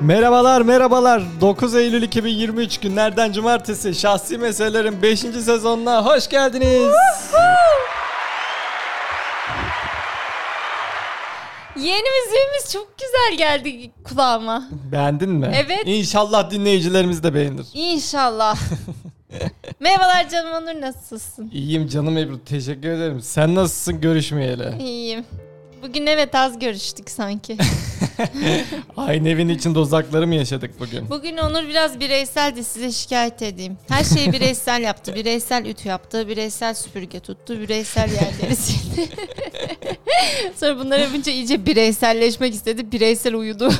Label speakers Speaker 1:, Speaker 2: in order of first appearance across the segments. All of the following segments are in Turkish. Speaker 1: Merhabalar merhabalar 9 Eylül 2023 günlerden cumartesi şahsi meselelerin 5. sezonuna hoş geldiniz.
Speaker 2: Yeni müziğimiz çok güzel geldi kulağıma.
Speaker 1: Beğendin mi?
Speaker 2: Evet.
Speaker 1: İnşallah dinleyicilerimiz de beğenir.
Speaker 2: İnşallah. Merhabalar canım Onur nasılsın?
Speaker 1: İyiyim canım Ebru teşekkür ederim. Sen nasılsın görüşmeyeli?
Speaker 2: İyiyim. Bugün evet az görüştük sanki.
Speaker 1: Aynı evin içinde uzakları mı yaşadık bugün?
Speaker 2: Bugün Onur biraz bireyseldi size şikayet edeyim. Her şeyi bireysel yaptı. Bireysel ütü yaptı. Bireysel süpürge tuttu. Bireysel yerleri sildi. Sonra bunları yapınca iyice bireyselleşmek istedi. Bireysel uyudu.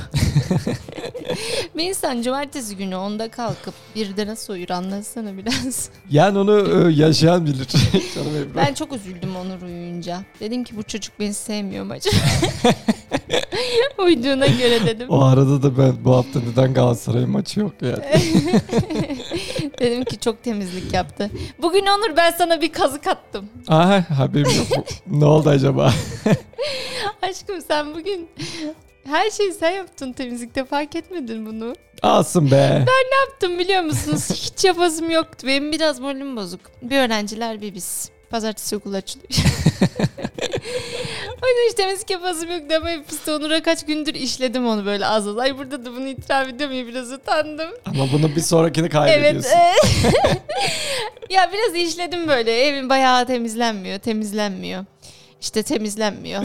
Speaker 2: Bir insan cumartesi günü onda kalkıp bir de nasıl uyur anlatsana biraz.
Speaker 1: Yani onu e, yaşayan bilir canım Ebru.
Speaker 2: Ben çok üzüldüm Onur uyuyunca. Dedim ki bu çocuk beni sevmiyor mu acaba? Uyuduğuna göre dedim.
Speaker 1: O arada da ben bu hafta neden Galatasaray maçı yok yani.
Speaker 2: dedim ki çok temizlik yaptı. Bugün Onur ben sana bir kazık attım.
Speaker 1: Aha haberim yok. ne oldu acaba?
Speaker 2: Aşkım sen bugün her şeyi sen yaptın temizlikte fark etmedin bunu.
Speaker 1: Alsın be.
Speaker 2: Yaptım biliyor musunuz? Hiç yapasım yoktu. Benim biraz moralim bozuk. Bir öğrenciler bir biz. Pazartesi okul açılıyor. O yüzden hiç temizlik yapasım yoktu ama hepsi Onur'a kaç gündür işledim onu böyle az az. Ay burada da bunu itiraf ediyorum ya biraz utandım.
Speaker 1: Ama bunu bir sonrakini
Speaker 2: Evet.
Speaker 1: kaybediyorsun.
Speaker 2: ya biraz işledim böyle. Evim bayağı temizlenmiyor, temizlenmiyor. İşte temizlenmiyor.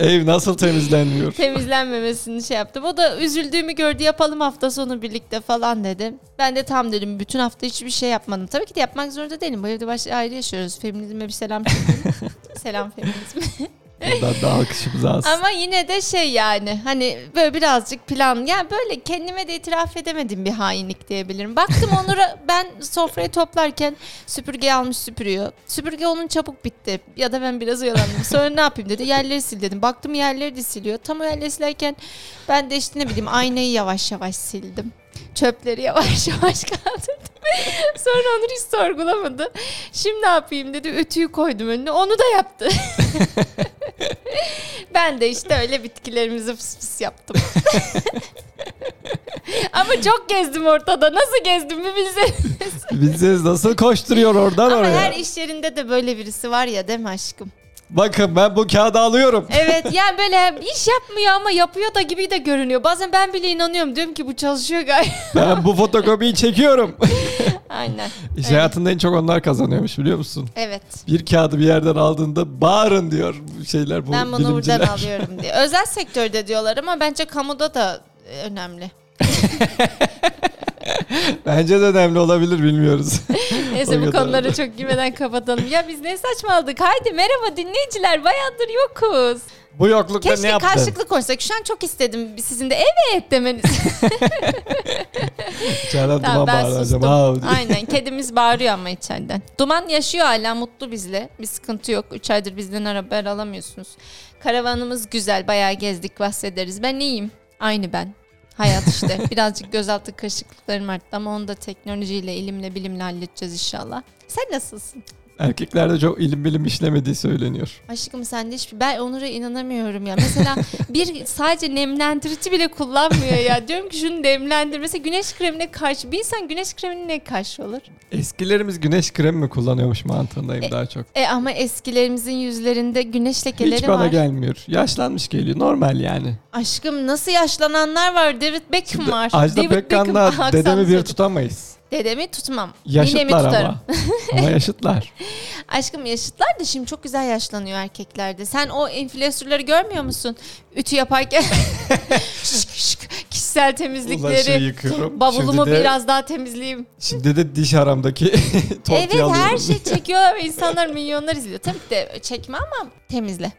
Speaker 1: Ev nasıl temizlenmiyor?
Speaker 2: Temizlenmemesini şey yaptım. O da üzüldüğümü gördü. Yapalım hafta sonu birlikte falan dedi. Ben de tam dedim bütün hafta hiçbir şey yapmadım. Tabii ki de yapmak zorunda değilim. Bu evde baş ayrı yaşıyoruz. Feminizme bir selam çekeyim. selam feminizme.
Speaker 1: Buradan da alkışımızı alsın.
Speaker 2: Ama yine de şey yani hani böyle birazcık plan yani böyle kendime de itiraf edemedim bir hainlik diyebilirim. Baktım Onur'a ben sofrayı toplarken süpürgeyi almış süpürüyor. Süpürge onun çabuk bitti ya da ben biraz oyalandım. Sonra ne yapayım dedi yerleri sil dedim. Baktım yerleri de siliyor. Tam o yerleri silerken ben de işte ne bileyim aynayı yavaş yavaş sildim. Çöpleri yavaş yavaş kaldırdım. Sonra Onur hiç sorgulamadı. Şimdi ne yapayım dedi. Ütüyü koydum önüne. Onu da yaptı. Ben de işte öyle bitkilerimizi fıs fıs yaptım. Ama çok gezdim ortada. Nasıl gezdim bir bilseniz.
Speaker 1: Biziz nasıl koşturuyor oradan
Speaker 2: Ama
Speaker 1: oraya.
Speaker 2: her iş yerinde de böyle birisi var ya değil mi aşkım?
Speaker 1: Bakın ben bu kağıdı alıyorum.
Speaker 2: Evet yani böyle hem iş yapmıyor ama yapıyor da gibi de görünüyor. Bazen ben bile inanıyorum. Diyorum ki bu çalışıyor gayet.
Speaker 1: Ben bu fotokopiyi çekiyorum.
Speaker 2: Aynen.
Speaker 1: İş hayatında en çok onlar kazanıyormuş biliyor musun?
Speaker 2: Evet.
Speaker 1: Bir kağıdı bir yerden aldığında bağırın diyor bu şeyler bu
Speaker 2: Ben bunu
Speaker 1: bilimciler.
Speaker 2: buradan alıyorum diye. Özel sektörde diyorlar ama bence kamuda da e, önemli.
Speaker 1: Bence de önemli olabilir bilmiyoruz. O
Speaker 2: Neyse bu
Speaker 1: kadar.
Speaker 2: konulara çok girmeden kapatalım. Ya biz ne saçmaladık? Haydi merhaba dinleyiciler. Bayağıdır yokuz.
Speaker 1: bu yoklukta ne
Speaker 2: Keşke
Speaker 1: yaptın?
Speaker 2: karşılıklı konuşsak. Şu an çok istedim sizin de evet demeniz.
Speaker 1: İçeriden
Speaker 2: Tamam,
Speaker 1: duman
Speaker 2: ben
Speaker 1: bağıracağım.
Speaker 2: sustum.
Speaker 1: Ha, diye.
Speaker 2: Aynen kedimiz bağırıyor ama içeriden. Duman yaşıyor hala mutlu bizle. Bir sıkıntı yok. 3 aydır bizden haber alamıyorsunuz. Karavanımız güzel. Bayağı gezdik bahsederiz. Ben iyiyim. Aynı ben. Hayat işte. Birazcık gözaltı kaşıklıklarım arttı ama onu da teknolojiyle, ilimle, bilimle halledeceğiz inşallah. Sen nasılsın?
Speaker 1: Erkeklerde çok ilim bilim işlemediği söyleniyor.
Speaker 2: Aşkım sen de hiçbir... Ben Onur'a inanamıyorum ya. Mesela bir sadece nemlendirici bile kullanmıyor ya. Diyorum ki şunu nemlendir. Mesela güneş kremine karşı... Bir insan güneş kremine ne karşı olur?
Speaker 1: Eskilerimiz güneş kremi mi kullanıyormuş mantığındayım daha çok.
Speaker 2: E ama eskilerimizin yüzlerinde güneş lekeleri
Speaker 1: Hiç bana
Speaker 2: var.
Speaker 1: gelmiyor. Yaşlanmış geliyor. Normal yani.
Speaker 2: Aşkım nasıl yaşlananlar var? David Beckham var.
Speaker 1: Ajda
Speaker 2: David Beckham-
Speaker 1: Pekkan'la
Speaker 2: Aksan
Speaker 1: dedemi bir
Speaker 2: söyledim.
Speaker 1: tutamayız.
Speaker 2: Dedemi tutmam. Ninemi
Speaker 1: Yaşıtlar
Speaker 2: tutarım.
Speaker 1: ama. ama yaşıtlar.
Speaker 2: Aşkım yaşıtlar da şimdi çok güzel yaşlanıyor erkeklerde. Sen o influencerları görmüyor musun? Ütü yaparken şık şık kişisel
Speaker 1: Ulaşığı
Speaker 2: temizlikleri.
Speaker 1: yıkıyorum.
Speaker 2: Bavulumu
Speaker 1: şimdi de,
Speaker 2: biraz daha temizleyeyim.
Speaker 1: Şimdi de diş haramdaki tortuyu
Speaker 2: Evet
Speaker 1: alıyorum.
Speaker 2: her şey çekiyor ve insanlar milyonlar izliyor. Tabii ki de çekme ama temizle.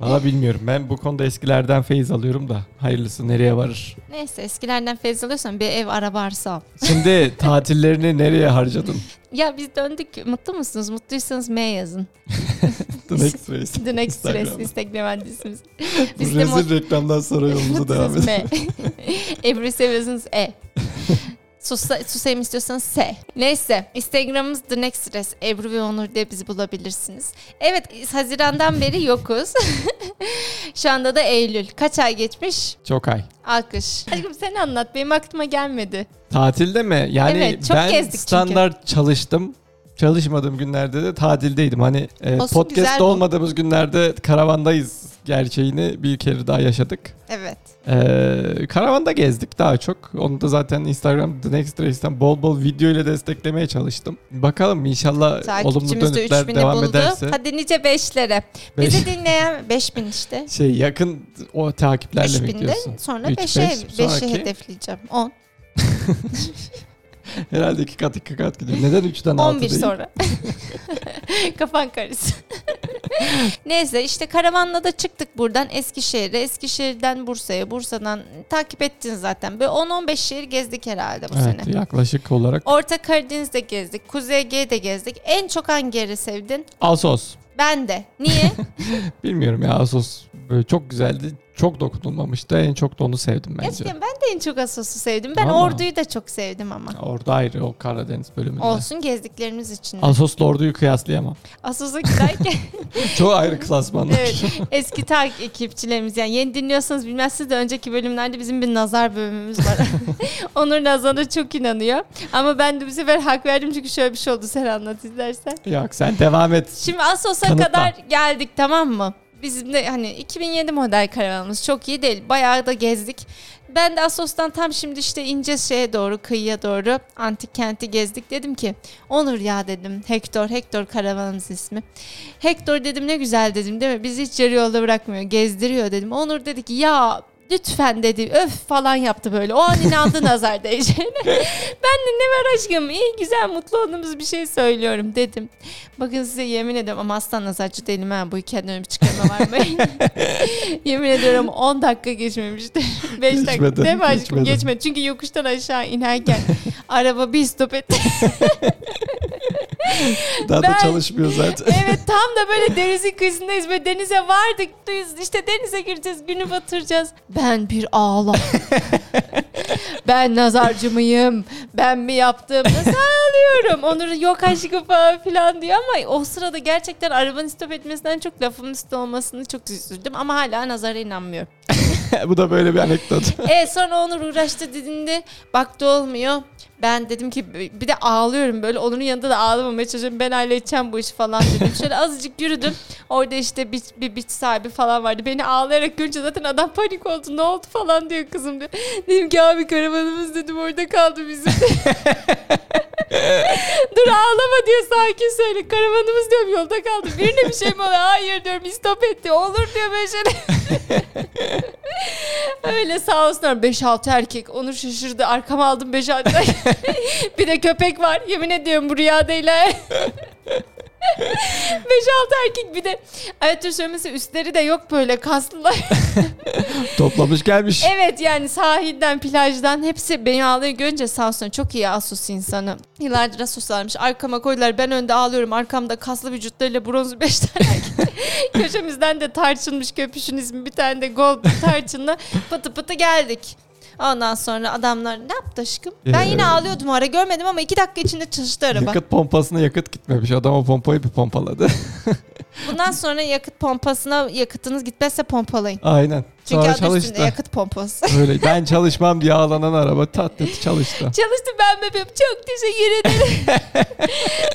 Speaker 1: Valla bilmiyorum. Ben bu konuda eskilerden feyiz alıyorum da. Hayırlısı nereye varır.
Speaker 2: Neyse eskilerden feyz alıyorsan bir ev araba arsa al.
Speaker 1: Şimdi tatillerini nereye harcadın?
Speaker 2: Ya biz döndük. Mutlu musunuz? Mutluysanız M yazın.
Speaker 1: The next race.
Speaker 2: The next
Speaker 1: Instagram'da.
Speaker 2: Stress Instagram adresimiz.
Speaker 1: Bu
Speaker 2: Biz de
Speaker 1: rezil
Speaker 2: mut-
Speaker 1: reklamdan sonra yolumuza devam
Speaker 2: mutluyuz
Speaker 1: edelim.
Speaker 2: M. Ebru seviyorsanız E. Susa, susayım istiyorsanız S. Neyse Instagram'ımız The Next Stress. Ebru ve Onur diye bizi bulabilirsiniz. Evet Haziran'dan beri yokuz. Şu anda da Eylül. Kaç ay geçmiş?
Speaker 1: Çok ay.
Speaker 2: Alkış. Aşkım sen anlat. Benim aklıma gelmedi.
Speaker 1: Tatilde mi? Yani
Speaker 2: Evet, çok
Speaker 1: ben
Speaker 2: gezdik çünkü.
Speaker 1: standart çalıştım. Çalışmadığım günlerde de tatildeydim. Hani e,
Speaker 2: Olsun, güzel
Speaker 1: podcast'te
Speaker 2: bu.
Speaker 1: olmadığımız günlerde karavandayız gerçeğini bir kere daha yaşadık.
Speaker 2: Evet.
Speaker 1: Ee, karavanda gezdik daha çok. Onu da zaten Instagram The Next Race'ten bol bol video ile desteklemeye çalıştım. Bakalım inşallah E, olumlu
Speaker 2: Takipçimiz de
Speaker 1: dönütler
Speaker 2: 3000'i
Speaker 1: devam
Speaker 2: buldu.
Speaker 1: ederse.
Speaker 2: Hadi nice beşlere.
Speaker 1: Beş-
Speaker 2: Bizi dinleyen 5000 işte.
Speaker 1: Şey yakın o takiplerle mi
Speaker 2: 5000'den
Speaker 1: gidiyorsun?
Speaker 2: sonra
Speaker 1: Üç,
Speaker 2: 5'e
Speaker 1: beş,
Speaker 2: 5'i
Speaker 1: sonraki.
Speaker 2: hedefleyeceğim. 10.
Speaker 1: Herhalde iki kat iki kat gidiyor. Neden üçten altı
Speaker 2: 11
Speaker 1: değil?
Speaker 2: sonra. Kafan karışsın. Neyse işte karavanla da çıktık buradan Eskişehir'e, Eskişehir'den Bursa'ya, Bursa'dan takip ettin zaten. Böyle 10-15 şehir gezdik herhalde bu sene.
Speaker 1: Evet yaklaşık olarak.
Speaker 2: Orta Karadeniz'de gezdik, Kuzey Ege'de gezdik. En çok hangi yeri sevdin?
Speaker 1: Asos.
Speaker 2: Ben de. Niye?
Speaker 1: Bilmiyorum ya Asos böyle çok güzeldi. Çok dokunulmamıştı. En çok da onu sevdim bence.
Speaker 2: Gerçekten ben de en çok Assos'u sevdim. Ben
Speaker 1: Vallahi.
Speaker 2: Ordu'yu da çok sevdim ama.
Speaker 1: Orada ayrı o Karadeniz bölümünde.
Speaker 2: Olsun gezdiklerimiz için.
Speaker 1: Asos'la Ordu'yu kıyaslayamam.
Speaker 2: Assos'a giderken
Speaker 1: Çok ayrı klasmanlar.
Speaker 2: evet, eski takipçilerimiz yani yeni dinliyorsanız bilmezsiniz de önceki bölümlerde bizim bir nazar bölümümüz var. Onur nazarına çok inanıyor. Ama ben de bu sefer hak verdim çünkü şöyle bir şey oldu sen anlat izlersen.
Speaker 1: Yok sen devam et.
Speaker 2: Şimdi Assos'a
Speaker 1: Kanıtla.
Speaker 2: kadar geldik tamam mı? Bizim de hani 2007 model karavanımız çok iyi değil. Bayağı da gezdik. Ben de Assos'tan tam şimdi işte ince şeye doğru, kıyıya doğru antik kenti gezdik. Dedim ki Onur ya dedim. Hector, Hector karavanımız ismi. Hector dedim ne güzel dedim değil mi? Bizi hiç yarı yolda bırakmıyor, gezdiriyor dedim. Onur dedi ki ya lütfen dedi öf falan yaptı böyle. O an inandı nazar değeceğine. ben de ne var aşkım iyi güzel mutlu olduğumuz bir şey söylüyorum dedim. Bakın size yemin ediyorum ama aslan nazarcı değilim ha bu hikayeden öyle bir çıkarma var mı? yemin ediyorum 10 dakika geçmemişti. 5 dakika
Speaker 1: Geçmedi,
Speaker 2: değil mi aşkım?
Speaker 1: geçmedi.
Speaker 2: Geçmedi. Çünkü yokuştan aşağı inerken araba bir stop etti.
Speaker 1: Daha da
Speaker 2: Ben-
Speaker 1: çalışmıyor zaten.
Speaker 2: Evet tam da böyle denizin kıyısındayız. Böyle denize vardık. duyuz- işte denize gireceğiz. Günü batıracağız. Ben bir ağlam. ben nazarcı mıyım? Ben mi yaptım? Nasıl ağlıyorum? Onur yok aşkım falan filan diyor ama o sırada gerçekten arabanın stop etmesinden çok lafımın üstü olmasını çok üzüldüm ama hala nazara inanmıyorum.
Speaker 1: Bu da böyle bir anekdot.
Speaker 2: E sonra Onur uğraştı dediğinde baktı olmuyor. Ben dedim ki bir de ağlıyorum böyle. Onur'un yanında da ağlamamaya çalışıyorum. Ben halledeceğim bu işi falan dedim. Şöyle azıcık yürüdüm. Orada işte bir, bir bit sahibi falan vardı. Beni ağlayarak görünce zaten adam panik oldu. Ne oldu falan diyor kızım diyor. Dedim ki abi karavanımız dedim orada kaldı bizim. Dur ağlama diyor sakin söyle. Karavanımız diyorum yolda kaldı. Birine bir şey mi oluyor? Hayır diyorum istop etti. Olur diyor şey böyle şeyler. Öyle sağ olsunlar 5-6 erkek. Onur şaşırdı. Arkama aldım 5-6 erkek. bir de köpek var. Yemin ediyorum bu rüya değil. ha. 5-6 erkek bir de ayet söylemesi üstleri de yok böyle kaslılar.
Speaker 1: Toplamış gelmiş.
Speaker 2: evet yani sahilden plajdan hepsi beni ağlayı görünce sağ olsun çok iyi Asus insanı. Yıllardır Asus'larmış arkama koydular ben önde ağlıyorum arkamda kaslı vücutlarıyla bronz 5 tane erkek. Köşemizden de tarçınmış köpüşün ismi bir tane de gold tarçınla pıtı pıtı geldik. Ondan sonra adamlar ne yaptı aşkım? Ben
Speaker 1: Ee,
Speaker 2: yine ağlıyordum o ara görmedim ama iki dakika içinde çalıştı araba.
Speaker 1: Yakıt pompasına yakıt gitmemiş. Adam o pompayı bir pompaladı.
Speaker 2: Bundan sonra yakıt pompasına yakıtınız gitmezse pompalayın.
Speaker 1: Aynen.
Speaker 2: Çünkü
Speaker 1: Sonra
Speaker 2: adı üstünde
Speaker 1: çalıştı.
Speaker 2: yakıt pompası.
Speaker 1: Böyle ben çalışmam diye ağlanan araba tat tat çalıştı.
Speaker 2: Çalıştı ben bebeğim. Çok teşekkür ederim.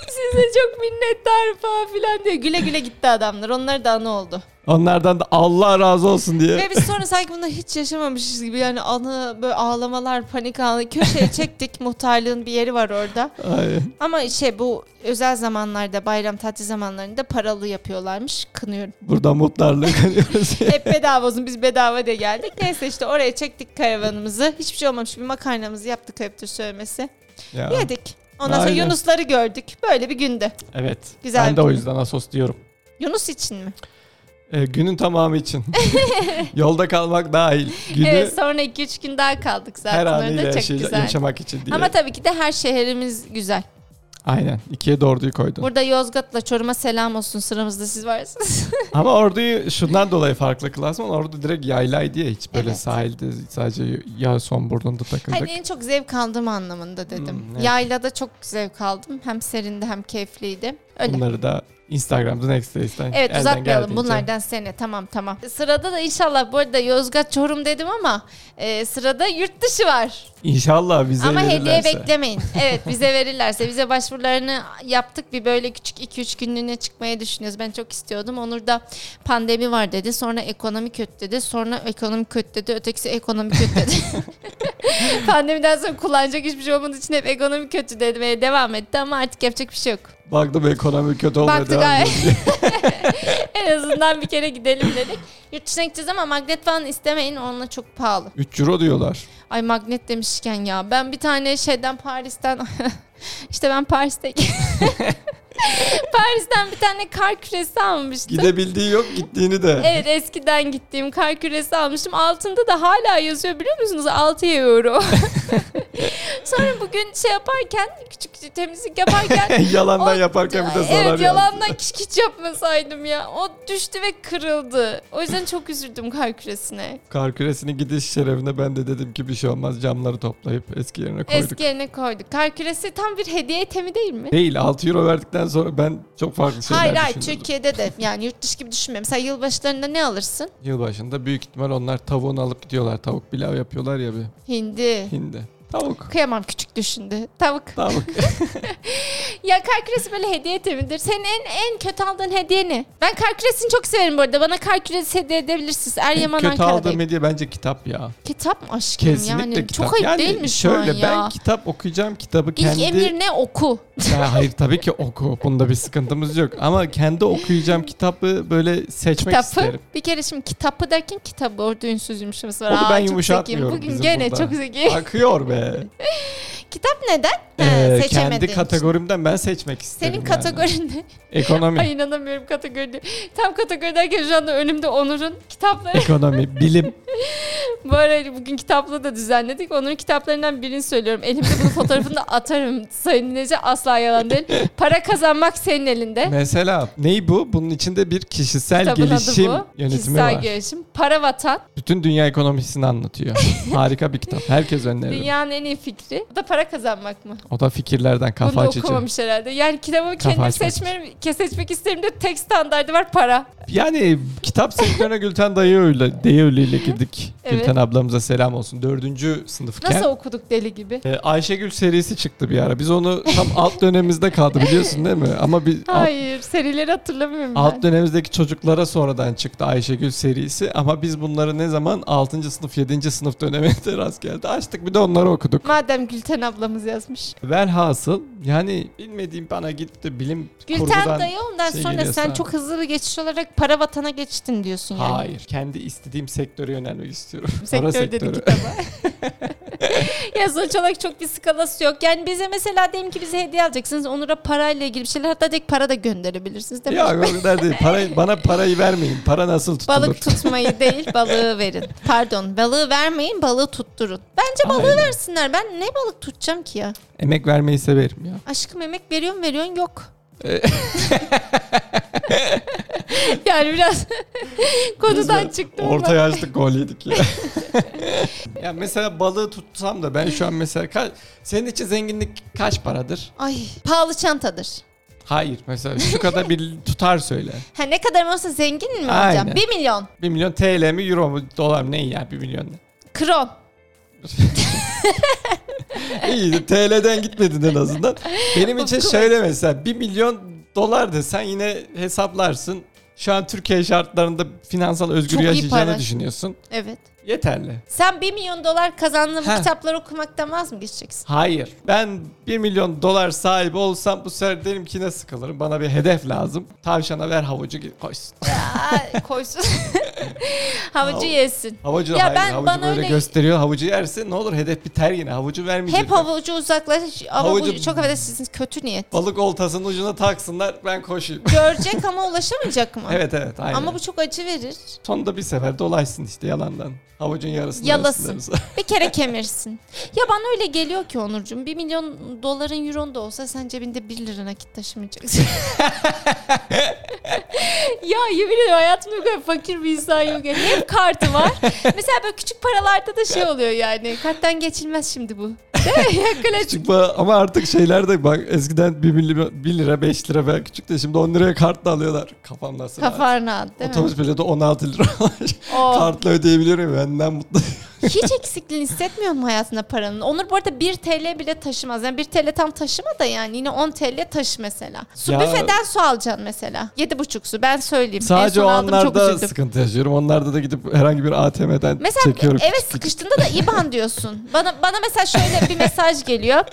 Speaker 2: Size çok minnettarım falan filan diyor. Güle güle gitti adamlar. Onlar da ne oldu?
Speaker 1: Onlardan da Allah razı olsun diye.
Speaker 2: Ve biz sonra sanki bunları hiç yaşamamışız gibi yani anı böyle ağlamalar, panik anı köşeye çektik. Muhtarlığın bir yeri var orada.
Speaker 1: Ay.
Speaker 2: Ama şey bu özel zamanlarda, bayram tatil zamanlarında paralı yapıyorlarmış. Kınıyorum.
Speaker 1: Burada muhtarlığı kanıyoruz.
Speaker 2: Hep bedava olsun biz bedava diye geldik. Neyse işte oraya çektik karavanımızı. Hiçbir şey olmamış. Bir makarnamızı yaptık ayıptır söylemesi.
Speaker 1: Ya,
Speaker 2: Yedik. Ondan sonra
Speaker 1: Aynen.
Speaker 2: Yunusları gördük. Böyle bir günde.
Speaker 1: evet.
Speaker 2: Güzel
Speaker 1: ben de
Speaker 2: bir
Speaker 1: o
Speaker 2: gün.
Speaker 1: yüzden Asos diyorum.
Speaker 2: Yunus için mi?
Speaker 1: Ee, günün tamamı için. Yolda kalmak dahil. Günü
Speaker 2: Evet sonra 2-3 gün daha kaldık
Speaker 1: her
Speaker 2: zaten. Onları
Speaker 1: anıyla
Speaker 2: da çok
Speaker 1: yaşay-
Speaker 2: güzel.
Speaker 1: yaşamak için diye.
Speaker 2: Ama tabii ki de her şehrimiz güzel.
Speaker 1: Aynen. İkiye de orduyu koydun.
Speaker 2: Burada Yozgat'la Çorum'a selam olsun sıramızda siz varsınız.
Speaker 1: Ama orduyu şundan dolayı farklı klasman. Ordu direkt yaylaydı ya hiç böyle
Speaker 2: Evet.
Speaker 1: sahilde sadece ya son burnunda takıldık.
Speaker 2: hani en çok zevk aldığım anlamında dedim.
Speaker 1: Hmm, evet.
Speaker 2: Yaylada çok zevk aldım. Hem serindi hem keyifliydi. Öyle.
Speaker 1: Bunları da Instagram The Next Race'den.
Speaker 2: Evet
Speaker 1: elden
Speaker 2: uzatmayalım
Speaker 1: geldiğince.
Speaker 2: bunlardan sene tamam tamam. Sırada da inşallah bu arada Yozgat Çorum dedim ama e, sırada yurt dışı var.
Speaker 1: İnşallah bize
Speaker 2: Ama hediye
Speaker 1: verirlerse.
Speaker 2: beklemeyin. Evet bize verirlerse. Bize başvurularını yaptık. Bir böyle küçük 2-3 günlüğüne çıkmayı düşünüyoruz. Ben çok istiyordum. Onur da pandemi var dedi. Sonra ekonomi kötü dedi. Sonra ekonomi kötü dedi. Ötekisi ekonomi kötü dedi. Pandemiden sonra kullanacak hiçbir şey olmadığı için hep ekonomi kötü demeye devam etti. Ama artık yapacak bir şey yok.
Speaker 1: Baktım ekonomi kötü olmaya
Speaker 2: Baktık,
Speaker 1: devam
Speaker 2: ay.
Speaker 1: ediyor.
Speaker 2: En azından bir kere gidelim dedik. Yurt dışına gideceğiz ama magnet falan istemeyin. Onunla çok pahalı.
Speaker 1: 3 euro diyorlar.
Speaker 2: Ay magnet demişken ya ben bir tane şeyden Paris'ten işte ben Paris'te Paris'ten bir tane kar küresi almıştım.
Speaker 1: Gidebildiği yok gittiğini de.
Speaker 2: Evet eskiden gittiğim kar küresi almıştım. Altında da hala yazıyor biliyor musunuz? 6 euro. Sonra bugün şey yaparken küçük temizlik yaparken
Speaker 1: yalandan
Speaker 2: O-
Speaker 1: yaparken bir de zarar
Speaker 2: evet
Speaker 1: yazdı.
Speaker 2: yalandan kiç kiç yapmasaydım ya. O düştü ve kırıldı. O yüzden çok üzüldüm kar küresine.
Speaker 1: Kar küresinin gidiş şerefine ben de dedim ki bir şey olmaz camları toplayıp eski yerine koyduk.
Speaker 2: Eski yerine koyduk. Kar küresi tam bir hediye itemi değil mi?
Speaker 1: Değil 6 euro verdikten sonra ben çok farklı şeyler
Speaker 2: hayır hayır
Speaker 1: düşündüm.
Speaker 2: Türkiye'de de yani yurt dışı gibi düşünme. Mesela yılbaşlarında ne alırsın?
Speaker 1: Yılbaşında büyük ihtimal onlar tavuğunu alıp gidiyorlar. Tavuk pilav yapıyorlar ya bir
Speaker 2: Hindi.
Speaker 1: hindi. Tavuk.
Speaker 2: Kıyamam küçük düşündü. Tavuk.
Speaker 1: Tavuk.
Speaker 2: Ya kar küresi böyle hediye temidir. Senin en en kötü aldığın hediye ne? Ben kar küresini çok severim bu arada. Bana kar küresi hediye edebilirsiniz. Eryaman
Speaker 1: Kötü
Speaker 2: Ankara'da.
Speaker 1: aldığım hediye bence kitap ya.
Speaker 2: Kitap mı aşkım
Speaker 1: Kesinlikle
Speaker 2: yani?
Speaker 1: kitap.
Speaker 2: Çok ayıp
Speaker 1: yani
Speaker 2: değil mi şu
Speaker 1: şöyle,
Speaker 2: an
Speaker 1: ben
Speaker 2: ya?
Speaker 1: kitap okuyacağım kitabı
Speaker 2: İlk
Speaker 1: kendi...
Speaker 2: emir ne? Oku.
Speaker 1: Ya hayır tabii ki oku. Bunda bir sıkıntımız yok. Ama kendi okuyacağım kitabı böyle seçmek
Speaker 2: Kitapı.
Speaker 1: isterim.
Speaker 2: Bir kere şimdi kitapı derken kitabı orada ünsüz yumuşaması var.
Speaker 1: Onu
Speaker 2: Aa,
Speaker 1: ben
Speaker 2: çok
Speaker 1: yumuşatmıyorum
Speaker 2: zekiyim. Bugün
Speaker 1: bizim
Speaker 2: gene
Speaker 1: burada.
Speaker 2: çok zeki.
Speaker 1: Akıyor be.
Speaker 2: Kitap neden? He,
Speaker 1: Ee,
Speaker 2: seçemediğin
Speaker 1: kendi
Speaker 2: için.
Speaker 1: kategorimden ben seçmek isterim.
Speaker 2: Senin
Speaker 1: yani.
Speaker 2: kategorin ne?
Speaker 1: Ekonomi.
Speaker 2: Ay inanamıyorum kategoride. Tam kategorideyken şu anda önümde Onur'un kitapları.
Speaker 1: Ekonomi, bilim.
Speaker 2: Bu arada bugün kitapla da düzenledik. Onur'un kitaplarından birini söylüyorum. Elimde bunun fotoğrafını da atarım. Sayın dinleyici asla yalan değil. Para kazanmak senin elinde.
Speaker 1: Mesela ney bu? Bunun içinde bir kişisel
Speaker 2: Kitabın
Speaker 1: gelişim
Speaker 2: adı bu.
Speaker 1: yönetimi
Speaker 2: Kişisel
Speaker 1: var.
Speaker 2: gelişim. Para vatan.
Speaker 1: Bütün dünya ekonomisini anlatıyor. Harika bir kitap. Herkes öneririm.
Speaker 2: Dünyanın en iyi fikri. Bu da para kazanmak mı?
Speaker 1: O da fikirlerden kafa
Speaker 2: Bunu da
Speaker 1: açıcı.
Speaker 2: okumamış herhalde. Yani kitabımı
Speaker 1: Kafa
Speaker 2: kendim
Speaker 1: açmak.
Speaker 2: seçmem, ke- seçmek isterim de tek standardı var para.
Speaker 1: Yani kitap sektörüne Gülten dayı öyle, dayı öyle girdik.
Speaker 2: Evet.
Speaker 1: Gülten ablamıza selam olsun. Dördüncü sınıfken.
Speaker 2: Nasıl okuduk deli gibi?
Speaker 1: Ee, Ayşegül serisi çıktı bir ara. Biz onu tam alt dönemimizde kaldı biliyorsun değil mi? Ama bir alt,
Speaker 2: Hayır serileri hatırlamıyorum ben.
Speaker 1: alt dönemimizdeki çocuklara sonradan çıktı Ayşegül serisi. Ama biz bunları ne zaman 6. sınıf 7. sınıf döneminde rast geldi. Açtık bir de onları okuduk.
Speaker 2: Madem Gülten ablamız yazmış.
Speaker 1: Velhasıl yani bilmediğim bana gitti bilim kurgudan...
Speaker 2: Gülten dayı ondan
Speaker 1: şey
Speaker 2: sonra
Speaker 1: geliyorsa-
Speaker 2: sen çok hızlı bir geçiş olarak para vatana geçtin diyorsun yani.
Speaker 1: Hayır. Kendi istediğim sektöre yönelmek istiyorum. Para
Speaker 2: Sektör
Speaker 1: sektörü.
Speaker 2: dedi kitaba. ya sonuç olarak çok bir skalası yok. Yani bize mesela diyelim ki bize hediye alacaksınız. Onur'a parayla ilgili bir şeyler hatta tek para da gönderebilirsiniz. Değil mi?
Speaker 1: Ya o kadar değil. Parayı, bana parayı vermeyin. Para nasıl tutulur?
Speaker 2: Balık tutmayı değil balığı verin. Pardon balığı vermeyin balığı tutturun. Bence balığı
Speaker 1: Aynen.
Speaker 2: versinler. Ben ne balık tutacağım ki ya?
Speaker 1: Emek vermeyi severim ya.
Speaker 2: Aşkım emek veriyorsun veriyorsun yok.
Speaker 1: E,
Speaker 2: yani biraz konudan çıktım ama.
Speaker 1: Orta yaşlı gol yedik ya. ya mesela balığı tutsam da ben şu an mesela ka- senin için zenginlik kaç paradır?
Speaker 2: Ay pahalı çantadır.
Speaker 1: Hayır mesela şu kadar bir tutar söyle.
Speaker 2: Ha ne kadar olsa zengin mi
Speaker 1: Aynen.
Speaker 2: olacağım? 1 milyon.
Speaker 1: 1 milyon TL mi euro mu dolar mı ne ya 1 milyon ne?
Speaker 2: Kron.
Speaker 1: İyi de TL'den gitmedin en azından. Benim için
Speaker 2: Of course.
Speaker 1: şöyle mesela 1 milyon dolar desen yine hesaplarsın. Şu an Türkiye şartlarında finansal özgür
Speaker 2: Çok iyi
Speaker 1: yaşayacağını
Speaker 2: para.
Speaker 1: düşünüyorsun.
Speaker 2: Evet.
Speaker 1: Yeterli.
Speaker 2: Sen 1 milyon dolar kazandığın
Speaker 1: Ha.
Speaker 2: kitapları okumaktan vaz mı geçeceksin?
Speaker 1: Hayır. Ben 1 milyon dolar sahibi olsam bu sefer derim ki ne sıkılırım. Bana bir hedef lazım. Tavşana ver havucu gi- koysun.
Speaker 2: Aa, koysun. Havucu yesin.
Speaker 1: Havucu
Speaker 2: Ya
Speaker 1: hayır.
Speaker 2: ben-
Speaker 1: havucu
Speaker 2: bana
Speaker 1: böyle
Speaker 2: öyle-
Speaker 1: gösteriyor. Havucu yerse ne olur hedef biter yine. Havucu vermeyecekler.
Speaker 2: Hep havucu uzaklaş. Ama
Speaker 1: Havucu-
Speaker 2: bu çok affedersiniz kötü niyet.
Speaker 1: Balık oltasının ucuna taksınlar ben koşayım.
Speaker 2: Görecek ama ulaşamayacak mı? zaman.
Speaker 1: Evet evet aynen.
Speaker 2: Ama bu çok acı verir.
Speaker 1: Sonunda bir sefer dolaşsın işte yalandan. Havucun yarısını
Speaker 2: Yalasın.
Speaker 1: arasın.
Speaker 2: Bir kere kemirsin. Ya bana öyle geliyor ki Onurcuğum. Bir milyon doların euron da olsa sen cebinde bir lira nakit taşımayacaksın. ya yemin ediyorum hayatımda bu kadar fakir bir insan yok. Yani hep kartı var. Mesela böyle küçük paralarda da şey oluyor yani. Karttan geçilmez şimdi bu. Değil mi? Ya klasik.
Speaker 1: Çünkü bu- ama artık şeyler de bak eskiden 1, lira 5 lira falan küçüktü. Şimdi 10 liraya kartla alıyorlar. Kafam nasıl? rahat.
Speaker 2: Kafan rahat değil mi?
Speaker 1: Otobüs bileti 16 lira olmuş.
Speaker 2: Oh.
Speaker 1: Kartla ödeyebilirim. Benden mutlu.
Speaker 2: Hiç eksikliğini hissetmiyor mu hayatında paranın? Onur bu arada 1 TL bile taşımaz. Yani 1 TL tam taşıma da yani yine 10 TL taşı mesela. Su
Speaker 1: Ya-
Speaker 2: büfeden su alacaksın mesela. 7,5 su ben söyleyeyim.
Speaker 1: Sadece
Speaker 2: en
Speaker 1: o
Speaker 2: son aldım çok
Speaker 1: anlarda
Speaker 2: üzüldüm.
Speaker 1: sıkıntı yaşıyorum. Onlarda da gidip herhangi bir ATM'den
Speaker 2: Mesela
Speaker 1: çekiyorum.
Speaker 2: eve sıkıştığında da IBAN diyorsun. Bana bana mesela şöyle bir mesaj geliyor.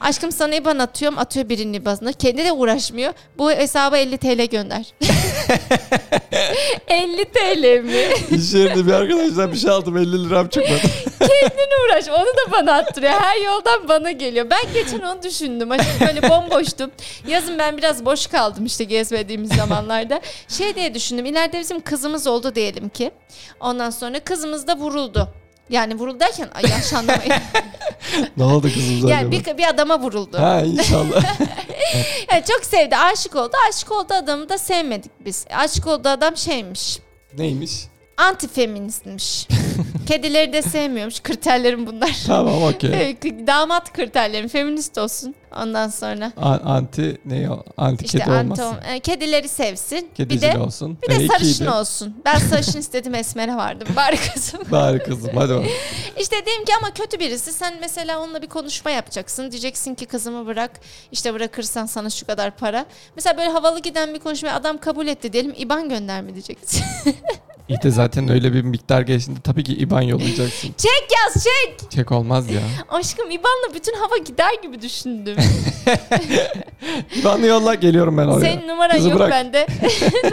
Speaker 2: Aşkım sana IBAN atıyorum. Atıyor birinin IBAN'ını. Kendi de uğraşmıyor. Bu hesaba 50 TL gönder. 50 TL mi?
Speaker 1: İş yerinde bir arkadaşlar bir şey aldım 50 liram çıkmadı.
Speaker 2: Kendini uğraş. Onu da bana attırıyor. Her yoldan bana geliyor. Ben geçen onu düşündüm. Açık böyle bomboştum. Yazın ben biraz boş kaldım işte gezmediğimiz zamanlarda. Şey diye düşündüm. İleride bizim kızımız oldu diyelim ki. Ondan sonra kızımız da vuruldu. Yani vuruldu derken ay yaşandı.
Speaker 1: ne oldu kızım
Speaker 2: yani
Speaker 1: yani
Speaker 2: bir, bir adama vuruldu.
Speaker 1: Ha inşallah.
Speaker 2: Yani çok sevdi. Aşık oldu. Aşık oldu adamı da sevmedik biz. Aşık oldu adam şeymiş.
Speaker 1: Neymiş?
Speaker 2: Antifeministmiş. Kedileri de sevmiyormuş. Kriterlerim bunlar.
Speaker 1: Tamam okey.
Speaker 2: Evet, damat kriterlerim feminist olsun ondan sonra.
Speaker 1: A- anti ne o? Anti
Speaker 2: İşte
Speaker 1: kedi olmasın.
Speaker 2: Anton- e, kedileri sevsin. bir
Speaker 1: Kedicili
Speaker 2: de
Speaker 1: olsun.
Speaker 2: bir de
Speaker 1: E,
Speaker 2: sarışın
Speaker 1: ikiydi.
Speaker 2: olsun. Ben sarışın istedim esmere vardım bari kızım.
Speaker 1: Bari kızım hadi bakalım.
Speaker 2: İşte diyeyim ki ama kötü birisi sen mesela onunla bir konuşma yapacaksın. Diyeceksin ki kızımı bırak işte bırakırsan sana şu kadar para. Mesela böyle havalı giden bir konuşmayı adam kabul etti diyelim İban gönderme diyeceksin.
Speaker 1: İyi de zaten öyle bir miktar geçtiğinde tabii ki IBAN yollayacaksın.
Speaker 2: çek yaz çek.
Speaker 1: Çek olmaz ya.
Speaker 2: Aşkım İban'la bütün hava gider gibi düşündüm.
Speaker 1: IBAN'ı yolla geliyorum ben oraya.
Speaker 2: Senin numaran
Speaker 1: Kızı
Speaker 2: yok
Speaker 1: bırak.
Speaker 2: bende.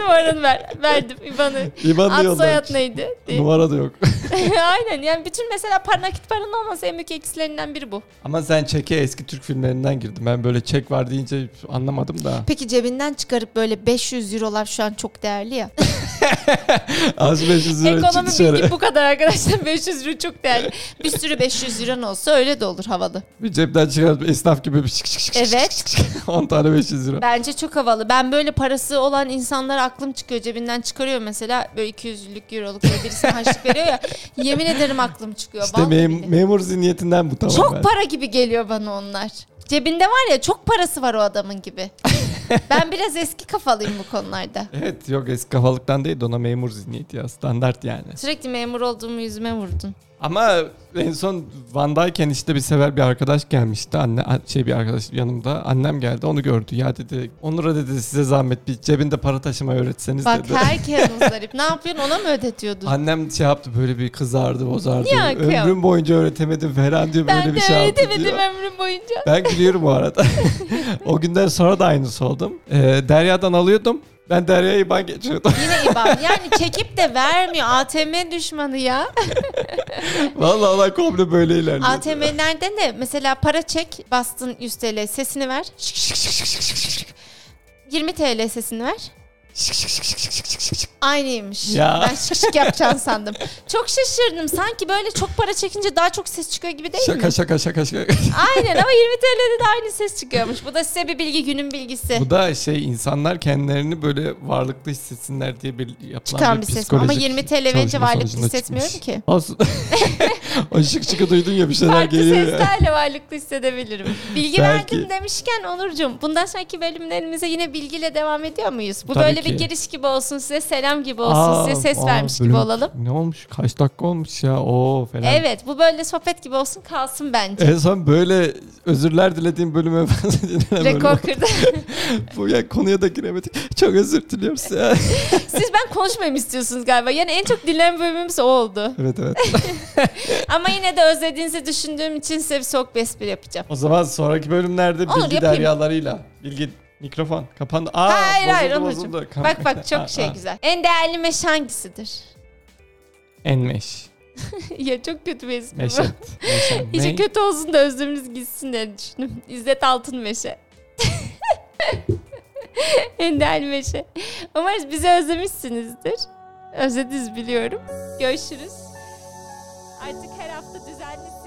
Speaker 2: Numaranı ver. Verdim İban'ı.
Speaker 1: IBAN'ı
Speaker 2: Ad
Speaker 1: yolla.
Speaker 2: soyad neydi?
Speaker 1: Numara da yok.
Speaker 2: Aynen yani bütün mesela para nakit paranın olması en büyük eksilerinden biri bu.
Speaker 1: Ama sen çeke eski Türk filmlerinden girdim. Ben böyle çek var deyince anlamadım da.
Speaker 2: Peki cebinden çıkarıp böyle 500 eurolar şu an çok değerli ya.
Speaker 1: Az 500 lira çık
Speaker 2: Ekonomi
Speaker 1: dışarı.
Speaker 2: bilgi bu kadar arkadaşlar 500 euro çok değerli. Bir sürü 500 euro olsa öyle de olur havalı.
Speaker 1: Bir cepten çıkarıp esnaf gibi bir çık çık çık.
Speaker 2: Evet
Speaker 1: 10 tane 500 lira.
Speaker 2: bence çok havalı. Ben böyle parası olan insanlara aklım çıkıyor cebinden çıkarıyor mesela böyle 200'lük euroluk böyle birisine harçlık veriyor ya. Yemin ederim aklım çıkıyor.
Speaker 1: İşte
Speaker 2: vallahi
Speaker 1: mem-
Speaker 2: billahi.
Speaker 1: memur zihniyetinden bu tamam.
Speaker 2: Çok
Speaker 1: ben.
Speaker 2: para gibi geliyor bana onlar. Cebinde var ya çok parası var o adamın gibi. ben biraz eski kafalıyım bu konularda.
Speaker 1: Evet yok eski kafalıktan değil de ona memur zihniyeti ya standart yani.
Speaker 2: Sürekli memur olduğumu yüzüme vurdun.
Speaker 1: Ama en son Van'dayken işte bir sever bir arkadaş gelmişti. Anne şey bir arkadaş yanımda. Annem geldi onu gördü. Ya dedi Onur'a dedi size zahmet bir cebinde para taşımayı öğretseniz
Speaker 2: Bak
Speaker 1: dedi.
Speaker 2: herkes muzdarip. Ne yapıyorsun ona mı ödetiyordun?
Speaker 1: Annem şey yaptı böyle bir kızardı bozardı.
Speaker 2: Ya, kıyamam.
Speaker 1: Ömrüm boyunca öğretemedim falan diyor böyle
Speaker 2: ben
Speaker 1: bir
Speaker 2: de
Speaker 1: şey
Speaker 2: öyle
Speaker 1: yaptı
Speaker 2: demedim
Speaker 1: diyor.
Speaker 2: ömrüm boyunca.
Speaker 1: Ben gülüyorum bu arada. o günden sonra da aynısı oldum. Ee, Derya'dan alıyordum. Ben Derya'yı ben geçiyordum.
Speaker 2: Yine İBAN. Yani çekip de vermiyor. ATM düşmanı ya.
Speaker 1: Vallahi olay komple böyle ilerliyor.
Speaker 2: ATM'lerden de mesela para çek. Bastın 100 TL sesini ver. Şık şık şık şık şık şık şık. 20 TL sesini ver. Aynıymış.
Speaker 1: Ya.
Speaker 2: Ben şık şık yapacağını sandım. Çok şaşırdım. Sanki böyle çok para çekince daha çok ses çıkıyor gibi değil mi?
Speaker 1: Şaka şaka şaka şaka.
Speaker 2: Aynen ama 20 TL'de de aynı ses çıkıyormuş. Bu da size bir bilgi günün bilgisi.
Speaker 1: Bu da şey insanlar kendilerini böyle varlıklı hissetsinler diye bir yapılan
Speaker 2: Çıkan bir
Speaker 1: bir
Speaker 2: ses.
Speaker 1: psikolojik
Speaker 2: Ama 20 TL verince
Speaker 1: çalışma
Speaker 2: varlıklı
Speaker 1: sonucunda
Speaker 2: hissetmiyorum
Speaker 1: çıkmış.
Speaker 2: ki.
Speaker 1: Olsun. o şık şıkı duydun ya bir şeyler
Speaker 2: Farklı
Speaker 1: geliyor ya.
Speaker 2: seslerle varlıklı hissedebilirim. Bilgi
Speaker 1: Belki.
Speaker 2: verdim demişken Onurcuğum bundan sonraki bölümlerimize yine bilgiyle devam ediyor muyuz? Bu
Speaker 1: Tabii
Speaker 2: böyle
Speaker 1: ki.
Speaker 2: bir giriş gibi olsun size selam gibi olsun size ses
Speaker 1: aa,
Speaker 2: vermiş gibi
Speaker 1: bölüm-
Speaker 2: olalım.
Speaker 1: Ne olmuş? Kaç dakika olmuş ya? Oo falan.
Speaker 2: Evet bu böyle sohbet gibi olsun kalsın bence.
Speaker 1: En son böyle özürler dilediğim bölüme dinlenen bölüm
Speaker 2: Rekor
Speaker 1: oldu.
Speaker 2: kırdı.
Speaker 1: Bu ya konuya da giremedik. Çok özür diliyoruz ya.
Speaker 2: Siz ben konuşmayayım istiyorsunuz galiba. Yani en çok dinlenen bölümümüz o oldu.
Speaker 1: evet evet.
Speaker 2: Ama yine de özlediğinizi düşündüğüm için size bir soğuk bir espri yapacağım.
Speaker 1: O zaman sonraki bölümlerde
Speaker 2: Olur,
Speaker 1: bilgi
Speaker 2: yapayım.
Speaker 1: deryalarıyla. Bilgi mikrofon kapandı. Aa,
Speaker 2: hayır
Speaker 1: bozuldu,
Speaker 2: hayır
Speaker 1: bozuldu.
Speaker 2: Onurcuğum.
Speaker 1: Kam-
Speaker 2: Bak bak
Speaker 1: Aa,
Speaker 2: çok şey
Speaker 1: aa.
Speaker 2: güzel. En değerli meş hangisidir?
Speaker 1: Enmeş.
Speaker 2: ya çok kötü bir espri bu.
Speaker 1: Meşet. Meşen.
Speaker 2: İşte
Speaker 1: Ney?
Speaker 2: kötü olsun da özlemimiz gitsin diye düşündüm. İzzet Altın Meşe. Endel Meşe. Umarız bizi özlemişsinizdir. Özlediniz biliyorum. Görüşürüz. Artık her hafta düzenli